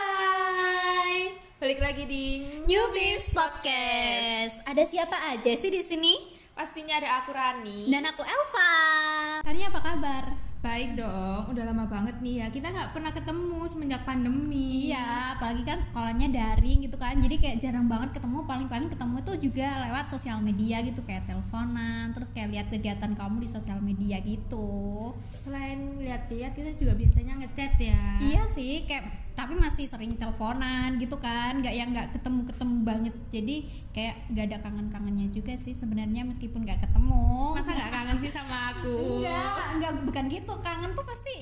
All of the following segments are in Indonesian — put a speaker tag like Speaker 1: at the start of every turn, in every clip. Speaker 1: Hai, balik lagi di
Speaker 2: Newbies Podcast. Ada siapa aja sih di sini?
Speaker 1: pastinya ada aku Rani.
Speaker 2: Dan aku Elva. Nah, Rani apa kabar?
Speaker 1: Baik dong, udah lama banget nih ya. Kita nggak pernah ketemu semenjak pandemi.
Speaker 2: Iya, apalagi kan sekolahnya daring gitu kan. Jadi kayak jarang banget ketemu, paling-paling ketemu tuh juga lewat sosial media gitu kayak teleponan, terus kayak lihat kegiatan kamu di sosial media gitu.
Speaker 1: Selain lihat-lihat, kita juga biasanya ngechat ya.
Speaker 2: Iya sih, kayak tapi masih sering teleponan gitu kan, nggak yang nggak ketemu-ketemu banget. Jadi kayak nggak ada kangen-kangennya juga sih sebenarnya meskipun nggak ketemu.
Speaker 1: Masa nggak kangen sih sama aku?
Speaker 2: Enggak, enggak bukan gitu. Kangen tuh pasti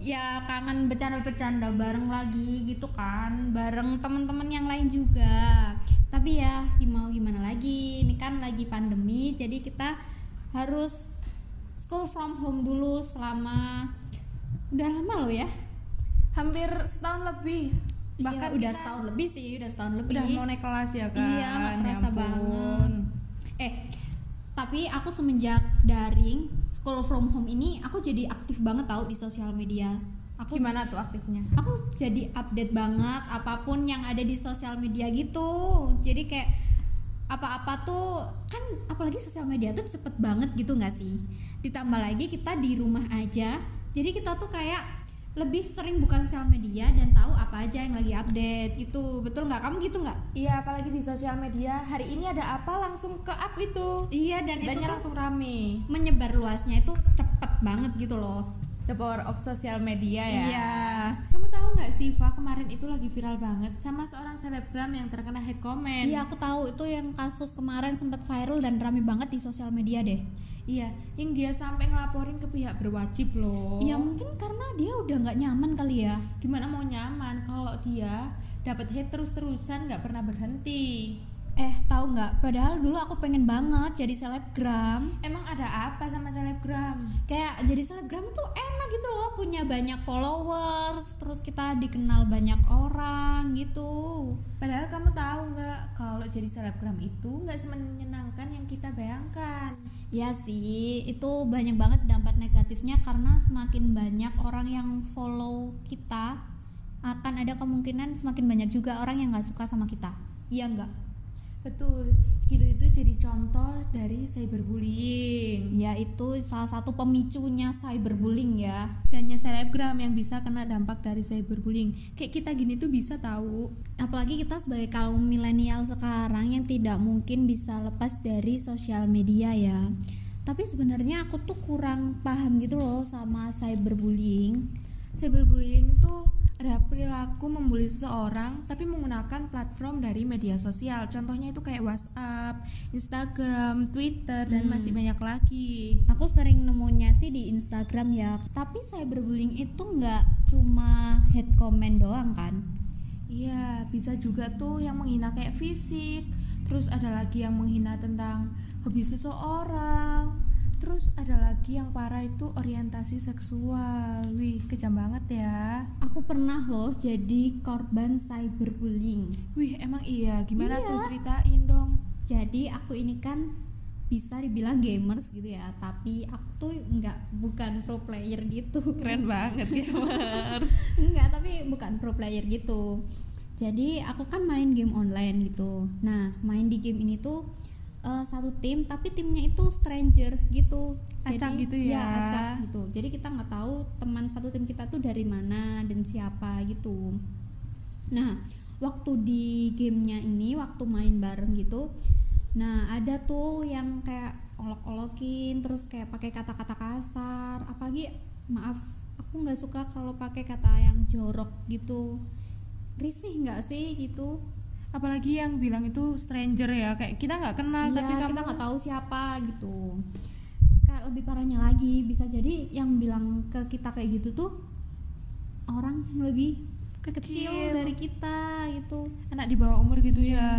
Speaker 2: ya kangen bercanda-bercanda bareng lagi gitu kan, bareng teman-teman yang lain juga. Tapi ya mau gimana lagi, ini kan lagi pandemi, jadi kita harus school from home dulu selama udah lama loh ya.
Speaker 1: Hampir setahun lebih.
Speaker 2: Bahkan
Speaker 1: Bahkan
Speaker 2: Iya, udah
Speaker 1: kita
Speaker 2: setahun lebih sih, udah setahun lebih.
Speaker 1: Iya, udah mau naik kelas ya kan.
Speaker 2: Iya, nggak kerasa
Speaker 1: Ya ampun.
Speaker 2: banget. Eh, tapi aku semenjak daring school from home ini aku jadi aktif banget tau di sosial media. Aku
Speaker 1: Gimana tuh aktifnya?
Speaker 2: Aku jadi update banget apapun yang ada di sosial media gitu. Jadi kayak apa-apa tuh kan apalagi sosial media tuh cepet banget gitu nggak sih? Ditambah lagi kita di rumah aja. Jadi kita tuh kayak lebih sering buka sosial media dan tahu apa aja yang lagi update gitu. Betul nggak? Kamu gitu nggak?
Speaker 1: Iya, apalagi di sosial media hari ini ada apa langsung ke up itu.
Speaker 2: Iya dan itu
Speaker 1: Banyak
Speaker 2: tuh
Speaker 1: langsung rame.
Speaker 2: menyebar luasnya itu cepet banget gitu loh
Speaker 1: The power of social media ya.
Speaker 2: Iya.
Speaker 1: Kamu tahu nggak sih, Fa, kemarin itu lagi viral banget sama seorang selebgram yang terkena hate comment.
Speaker 2: iya aku tahu itu yang kasus kemarin sempat viral dan rame banget di sosial media deh
Speaker 1: Iya, yang dia sampai ngelaporin ke pihak berwajib loh.
Speaker 2: ya mungkin karena dia udah nggak nyaman kali ya
Speaker 1: Gimana mau nyaman kalau dia dapat hate terus-terusan nggak pernah berhenti?
Speaker 2: eh tahu nggak padahal dulu aku pengen banget jadi selebgram
Speaker 1: Emang ada apa sama selebgram?
Speaker 2: kayak jadi selebgram tuh enak gitu loh punya banyak followers terus kita dikenal banyak orang gitu
Speaker 1: Padahal kamu tahu nggak kalau jadi selebgram itu nggak semenyenangkan yang kita bayangkan.
Speaker 2: Ya sih, itu banyak banget dampak negatifnya karena semakin banyak orang yang follow kita akan ada kemungkinan semakin banyak juga orang yang nggak suka sama kita. Iya nggak?
Speaker 1: Betul, gitu itu jadi contoh dari cyberbullying.
Speaker 2: Ya itu salah satu pemicunya cyberbullying ya.
Speaker 1: dannya selebgram yang bisa kena dampak dari cyberbullying kayak kita gini tuh bisa tahu
Speaker 2: Apalagi kita sebagai kaum milenial sekarang yang tidak mungkin bisa lepas dari sosial media ya. Tapi sebenarnya aku tuh kurang paham gitu loh sama cyberbullying.
Speaker 1: cyberbullying tuh ada perilaku membuli seseorang tapi menggunakan platform dari media sosial contohnya itu kayak WhatsApp, Instagram, Twitter dan masih banyak lagi
Speaker 2: Aku sering nemunya sih di Instagram ya, tapi cyberbullying itu nggak cuma hate comment doang kan?
Speaker 1: iya bisa juga tuh yang menghina kayak fisik terus ada lagi yang menghina tentang hobi seseorang terus ada lagi yang parah itu orientasi seksual wih kejam banget ya
Speaker 2: Aku pernah loh jadi korban cyberbullying.
Speaker 1: Wih, emang iya. Gimana
Speaker 2: Iya.
Speaker 1: tuh ceritain dong?
Speaker 2: Jadi aku ini kan bisa dibilang gamers gitu ya, tapi aku tuh nggak bukan pro player gitu.
Speaker 1: Keren banget gamers.
Speaker 2: Enggak, tapi bukan pro player gitu. Jadi aku kan main game online gitu. Nah, main di game ini tuh eh, satu tim, tapi timnya itu strangers gitu.
Speaker 1: Acak gitu ya.
Speaker 2: acak gitu. Jadi kita nggak tahu teman satu tim kita tuh dari mana dan siapa gitu. Nah, waktu di gamenya ini, waktu main bareng gitu, nah ada tuh yang kayak olok-olokin, terus kayak pakai kata-kata kasar, apalagi maaf, aku nggak suka kalau pakai kata yang jorok gitu, risih nggak sih gitu?
Speaker 1: Apalagi yang bilang itu stranger ya, kayak kita nggak kenal
Speaker 2: Iya,
Speaker 1: tapi kamu
Speaker 2: kita nggak tahu siapa gitu. Kayak lebih parahnya lagi, bisa jadi yang bilang ke kita kayak gitu tuh orang lebih kecil,
Speaker 1: Kecil.
Speaker 2: dari kita gitu.
Speaker 1: anak di bawah umur gitu
Speaker 2: Iya.
Speaker 1: ya.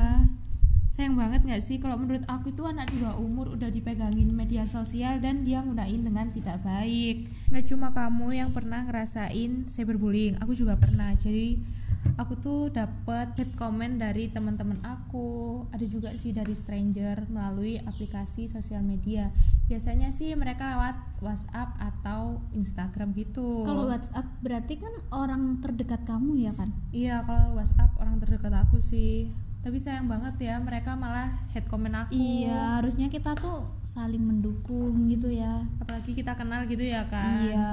Speaker 1: Sayang banget nggak sih kalau menurut aku itu anak di bawah umur udah dipegangin media sosial dan dia gunain dengan tidak baik. Nggak cuma kamu yang pernah ngerasain cyberbullying, aku juga pernah. Jadi aku tuh dapat hate comment dari teman-teman aku ada juga sih dari stranger melalui aplikasi sosial media biasanya sih mereka lewat WhatsApp atau Instagram gitu
Speaker 2: Kalau WhatsApp berarti kan orang terdekat kamu ya kan?
Speaker 1: iya kalau WhatsApp orang terdekat aku sih tapi sayang banget ya mereka malah hate comment aku
Speaker 2: Iya, harusnya kita tuh saling mendukung gitu ya.
Speaker 1: apalagi kita kenal gitu ya kan
Speaker 2: Iya.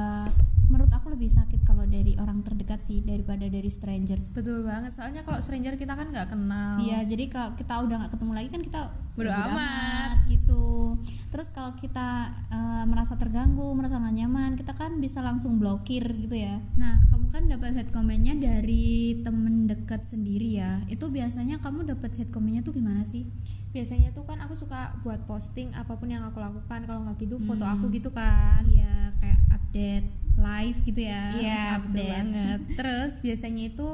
Speaker 2: Menurut aku lebih sakit kalau dari orang terdekat sih daripada dari strangers.
Speaker 1: betul banget soalnya kalau stranger kita kan nggak kenal
Speaker 2: Iya, jadi kalau kita udah nggak ketemu lagi kan kita
Speaker 1: Bodo amat.
Speaker 2: gitu. Terus kalau kita eh, merasa terganggu, merasa nggak nyaman, kita kan bisa langsung blokir gitu ya. Nah, kamu kan dapat head comment-nya dari temen dekat sendiri ya. Itu biasanya kamu dapat head comment-nya tuh gimana sih?
Speaker 1: biasanya tuh kan aku suka buat posting apapun yang aku lakukan kalau nggak gitu foto
Speaker 2: Hmm.
Speaker 1: aku gitu kan
Speaker 2: Iya, kayak update live gitu ya.
Speaker 1: Iya
Speaker 2: live
Speaker 1: betul banget. Terus biasanya itu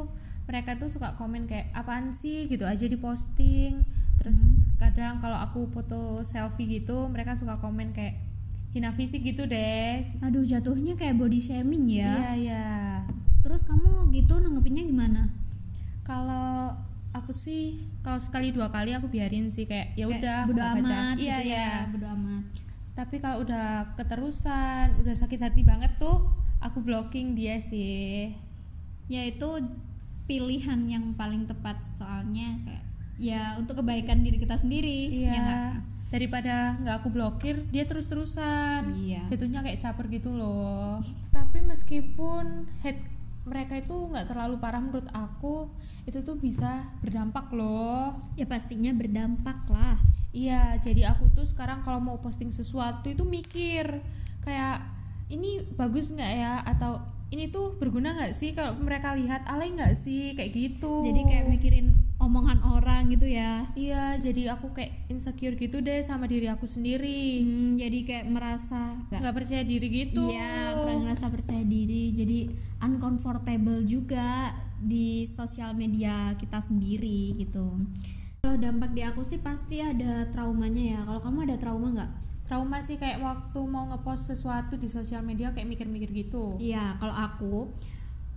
Speaker 1: mereka tuh suka komen kayak apaan sih gitu aja di posting. Terus
Speaker 2: Hmm.
Speaker 1: kadang kalau aku foto selfie gitu mereka suka komen kayak hina fisik gitu deh.
Speaker 2: Aduh, jatuhnya kayak body shaming
Speaker 1: Iya
Speaker 2: ya.
Speaker 1: iya.
Speaker 2: Terus kamu gitu nanggepinnya gimana?
Speaker 1: Kalau aku sih kalau sekali dua kali aku biarin sih kayak ya
Speaker 2: Kayak
Speaker 1: udah aku
Speaker 2: bodo
Speaker 1: nggak
Speaker 2: amat
Speaker 1: baca.
Speaker 2: gitu
Speaker 1: Iya
Speaker 2: ya,
Speaker 1: iya.
Speaker 2: bodo amat.
Speaker 1: Tapi kalau udah keterusan, udah sakit hati banget tuh aku blocking dia sih.
Speaker 2: Ya itu pilihan yang paling tepat soalnya kayak ya untuk kebaikan diri kita sendiri.
Speaker 1: Iya.
Speaker 2: ya nggak?
Speaker 1: daripada nggak aku blokir, dia terus-terusan.
Speaker 2: Iya.
Speaker 1: Jatuhnya kayak caper gitu loh. Tapi meskipun hate mereka itu nggak terlalu parah menurut aku, itu tuh bisa berdampak loh.
Speaker 2: Ya pastinya berdampak lah.
Speaker 1: Iya, jadi aku tuh sekarang kalau mau posting sesuatu itu mikir kayak ini bagus nggak ya atau ini tuh berguna nggak sih kalau mereka lihat alay nggak sih kayak gitu.
Speaker 2: Jadi kayak mikirin omongan orang gitu ya.
Speaker 1: Iya, jadi aku kayak insecure gitu deh sama diri aku sendiri.
Speaker 2: Hmm, jadi kayak merasa nggak
Speaker 1: nggak percaya diri gitu
Speaker 2: Iya, kurang rasa percaya diri. Jadi uncomfortable juga di sosial media kita sendiri gitu. Kalau dampak di aku sih pasti ada traumanya ya. Kalau kamu ada trauma nggak?
Speaker 1: trauma sih kayak waktu mau ngepost sesuatu di sosial media kayak mikir-mikir gitu
Speaker 2: Iya, kalau aku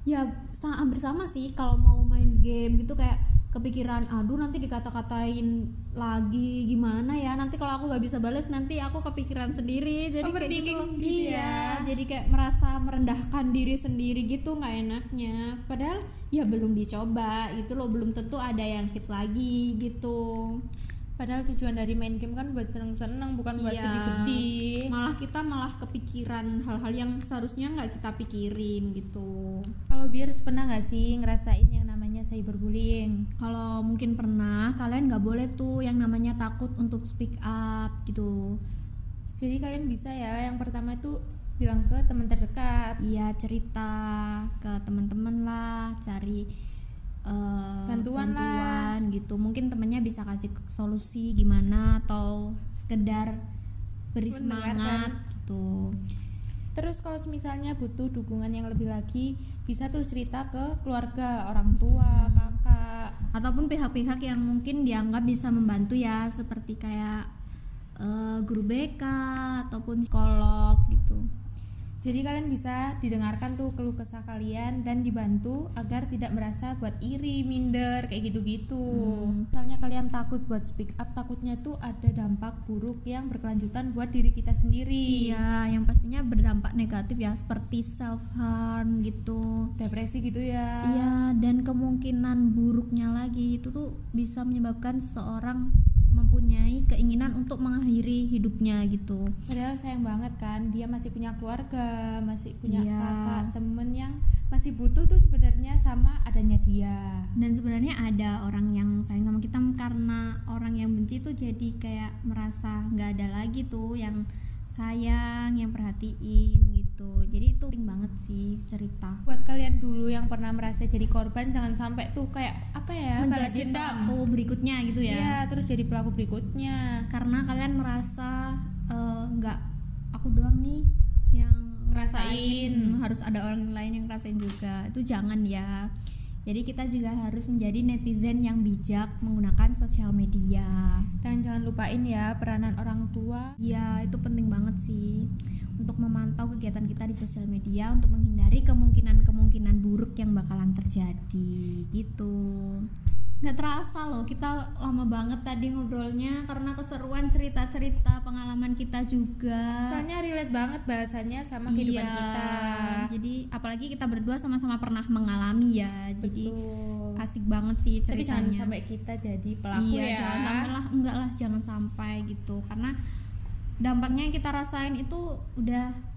Speaker 2: ya sa- hampir sama sih kalau mau main game gitu kayak kepikiran aduh nanti dikata-katain lagi gimana ya nanti kalau aku nggak bisa bales nanti aku kepikiran sendiri jadi kayak
Speaker 1: Overthinking
Speaker 2: gitu.
Speaker 1: gitu
Speaker 2: iya
Speaker 1: ya.
Speaker 2: jadi kayak merasa merendahkan diri sendiri gitu nggak enaknya padahal ya belum dicoba itu loh belum tentu ada yang hit lagi gitu
Speaker 1: padahal tujuan dari main game kan buat seneng-seneng bukan buat
Speaker 2: Iya.
Speaker 1: sedih-sedih
Speaker 2: malah kita malah kepikiran hal-hal yang seharusnya nggak kita pikirin gitu
Speaker 1: kalau biars pernah nggak sih ngerasain yang namanya cyberbullying
Speaker 2: Kalau mungkin pernah, kalian nggak boleh tuh yang namanya takut untuk speak up gitu.
Speaker 1: jadi kalian bisa ya yang pertama itu bilang ke teman terdekat
Speaker 2: Iya cerita ke teman-teman lah, cari eh,
Speaker 1: Bantuan lah.
Speaker 2: bantuan gitu. Mungkin temennya bisa kasih solusi gimana atau sekedar beri
Speaker 1: Mendengarkan.
Speaker 2: semangat gitu.
Speaker 1: terus kalau misalnya butuh dukungan yang lebih lagi bisa tuh cerita ke keluarga orang tua kakak
Speaker 2: Ataupun pihak-pihak yang mungkin dianggap bisa membantu ya, seperti kayak eh, guru BK ataupun psikolog gitu.
Speaker 1: Jadi kalian bisa didengarkan tuh keluh kesah kalian dan dibantu agar tidak merasa buat iri, minder, kayak gitu-gitu.
Speaker 2: Hmm.
Speaker 1: Misalnya kalian takut buat speak up, takutnya tuh ada dampak buruk yang berkelanjutan buat diri kita sendiri.
Speaker 2: Iya, yang pastinya berdampak negatif ya, seperti self harm gitu.
Speaker 1: Depresi gitu ya.
Speaker 2: Iya, dan kemungkinan buruknya lagi itu tuh bisa menyebabkan seseorang mempunyai keinginan untuk mengakhiri hidupnya gitu.
Speaker 1: Padahal sayang banget kan, dia masih punya keluarga, masih punya
Speaker 2: Iya.
Speaker 1: kakak, temen yang masih butuh tuh sebenarnya sama adanya dia.
Speaker 2: Dan sebenarnya ada orang yang sayang sama kita karena orang yang benci tuh jadi kayak merasa nggak ada lagi tuh yang sayang, yang perhatiin gitu. Jadi itu penting banget sih cerita.
Speaker 1: Buat kalian dulu yang pernah merasa jadi korban, jangan sampai tuh kayak apa ya, balas
Speaker 2: Menjadi
Speaker 1: dendam.
Speaker 2: pelaku berikutnya gitu ya.
Speaker 1: Iya, terus jadi pelaku berikutnya.
Speaker 2: Iya, karena kalian merasa eh, nggak aku doang nih yang ngerasain
Speaker 1: Ngerasain.
Speaker 2: Hmm, harus ada orang lain yang ngerasain juga itu jangan ya jadi kita juga harus menjadi netizen yang bijak menggunakan sosial media
Speaker 1: Dan jangan lupain ya peranan orang tua.
Speaker 2: ya itu penting banget sih untuk memantau kegiatan kita di sosial media untuk menghindari kemungkinan-kemungkinan kemungkinan buruk yang bakalan terjadi gitu
Speaker 3: nggak terasa loh kita lama banget tadi ngobrolnya karena keseruan cerita-cerita pengalaman kita juga
Speaker 1: Soalnya relate banget bahasannya sama kehidupan
Speaker 3: Iya,
Speaker 1: kita.
Speaker 2: jadi apalagi kita berdua sama-sama pernah mengalami ya jadi
Speaker 1: Betul.
Speaker 2: asik banget sih
Speaker 1: Tapi
Speaker 2: ceritanya
Speaker 1: jangan sampai kita jadi pelaku
Speaker 2: iya
Speaker 1: ya.
Speaker 2: jangan sampai lah enggak lah jangan sampai gitu karena dampaknya yang kita rasain itu udah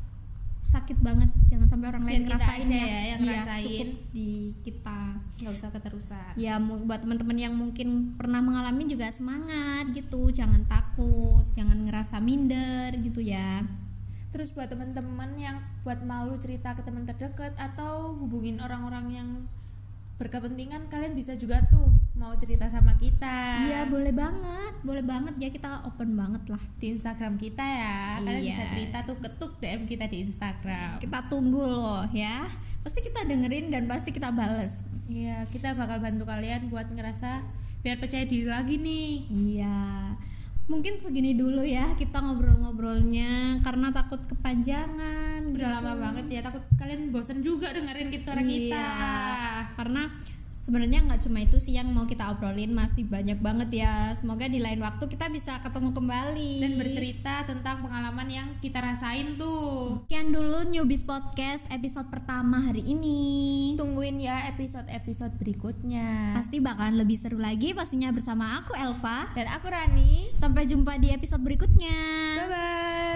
Speaker 2: sakit banget jangan sampai orang lain
Speaker 1: Biar kita
Speaker 2: rasain
Speaker 1: aja ya yang
Speaker 2: Iya,
Speaker 1: ngerasain.
Speaker 2: cukup di kita
Speaker 1: Nggak usah keterusan.
Speaker 2: ya mu- buat teman-teman yang mungkin pernah mengalami juga semangat gitu jangan takut jangan ngerasa minder gitu ya
Speaker 1: Terus buat teman-teman yang buat malu cerita ke teman terdekat atau hubungin orang-orang yang berkepentingan, kalian bisa juga tuh mau cerita sama kita.
Speaker 2: iya boleh banget boleh banget ya kita open banget lah
Speaker 1: di Instagram kita ya. Kalian
Speaker 2: Iya.
Speaker 1: bisa cerita tuh ketuk DM kita di Instagram.
Speaker 2: kita tunggu loh ya pasti kita dengerin dan pasti kita bales
Speaker 1: Iya, kita bakal bantu kalian buat ngerasa biar percaya diri lagi nih.
Speaker 2: Iya. Mungkin segini dulu ya kita ngobrol-ngobrolnya karena takut kepanjangan.
Speaker 1: Udah
Speaker 2: gitu.
Speaker 1: lama banget ya, takut kalian bosen juga dengerin kita
Speaker 2: Iya.
Speaker 1: kita.
Speaker 2: Karena sebenarnya nggak cuma itu sih yang mau kita obrolin, masih banyak banget ya. Semoga di lain waktu kita bisa ketemu kembali
Speaker 1: Dan bercerita tentang pengalaman yang kita rasain tuh.
Speaker 2: Sekian dulu Newbies Podcast episode pertama hari ini.
Speaker 1: Tungguin ya episode-episode berikutnya.
Speaker 2: Pasti bakalan lebih seru lagi pastinya bersama aku Elva.
Speaker 1: Dan aku Rani.
Speaker 2: Sampai jumpa di episode berikutnya.
Speaker 1: Bye bye.